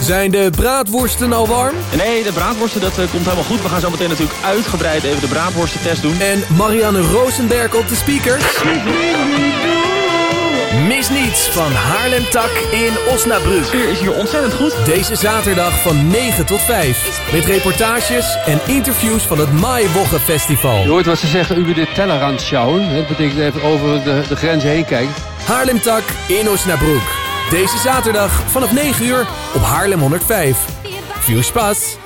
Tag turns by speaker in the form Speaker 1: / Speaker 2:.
Speaker 1: Zijn de braadworsten al warm?
Speaker 2: Nee, de braadworsten, dat eh, komt helemaal goed. We gaan zo meteen natuurlijk uitgebreid even de braadworstentest doen.
Speaker 1: En Marianne Rosenberg op de speakers? Mis niets van Haarlem Tak in
Speaker 2: De
Speaker 1: Osnabrück.
Speaker 2: sfeer is hier ontzettend goed.
Speaker 1: Deze zaterdag van 9 tot 5. Met reportages en interviews van het Maaiwogge
Speaker 3: Je
Speaker 1: Festival.
Speaker 3: hoort wat ze zeggen, u de Tellerrand schauen. Dat betekent even over de, de grens heen kijken.
Speaker 1: Haarlem Tak in Osnabrück. Deze zaterdag vanaf 9 uur op Haarlem 105. Veel spas!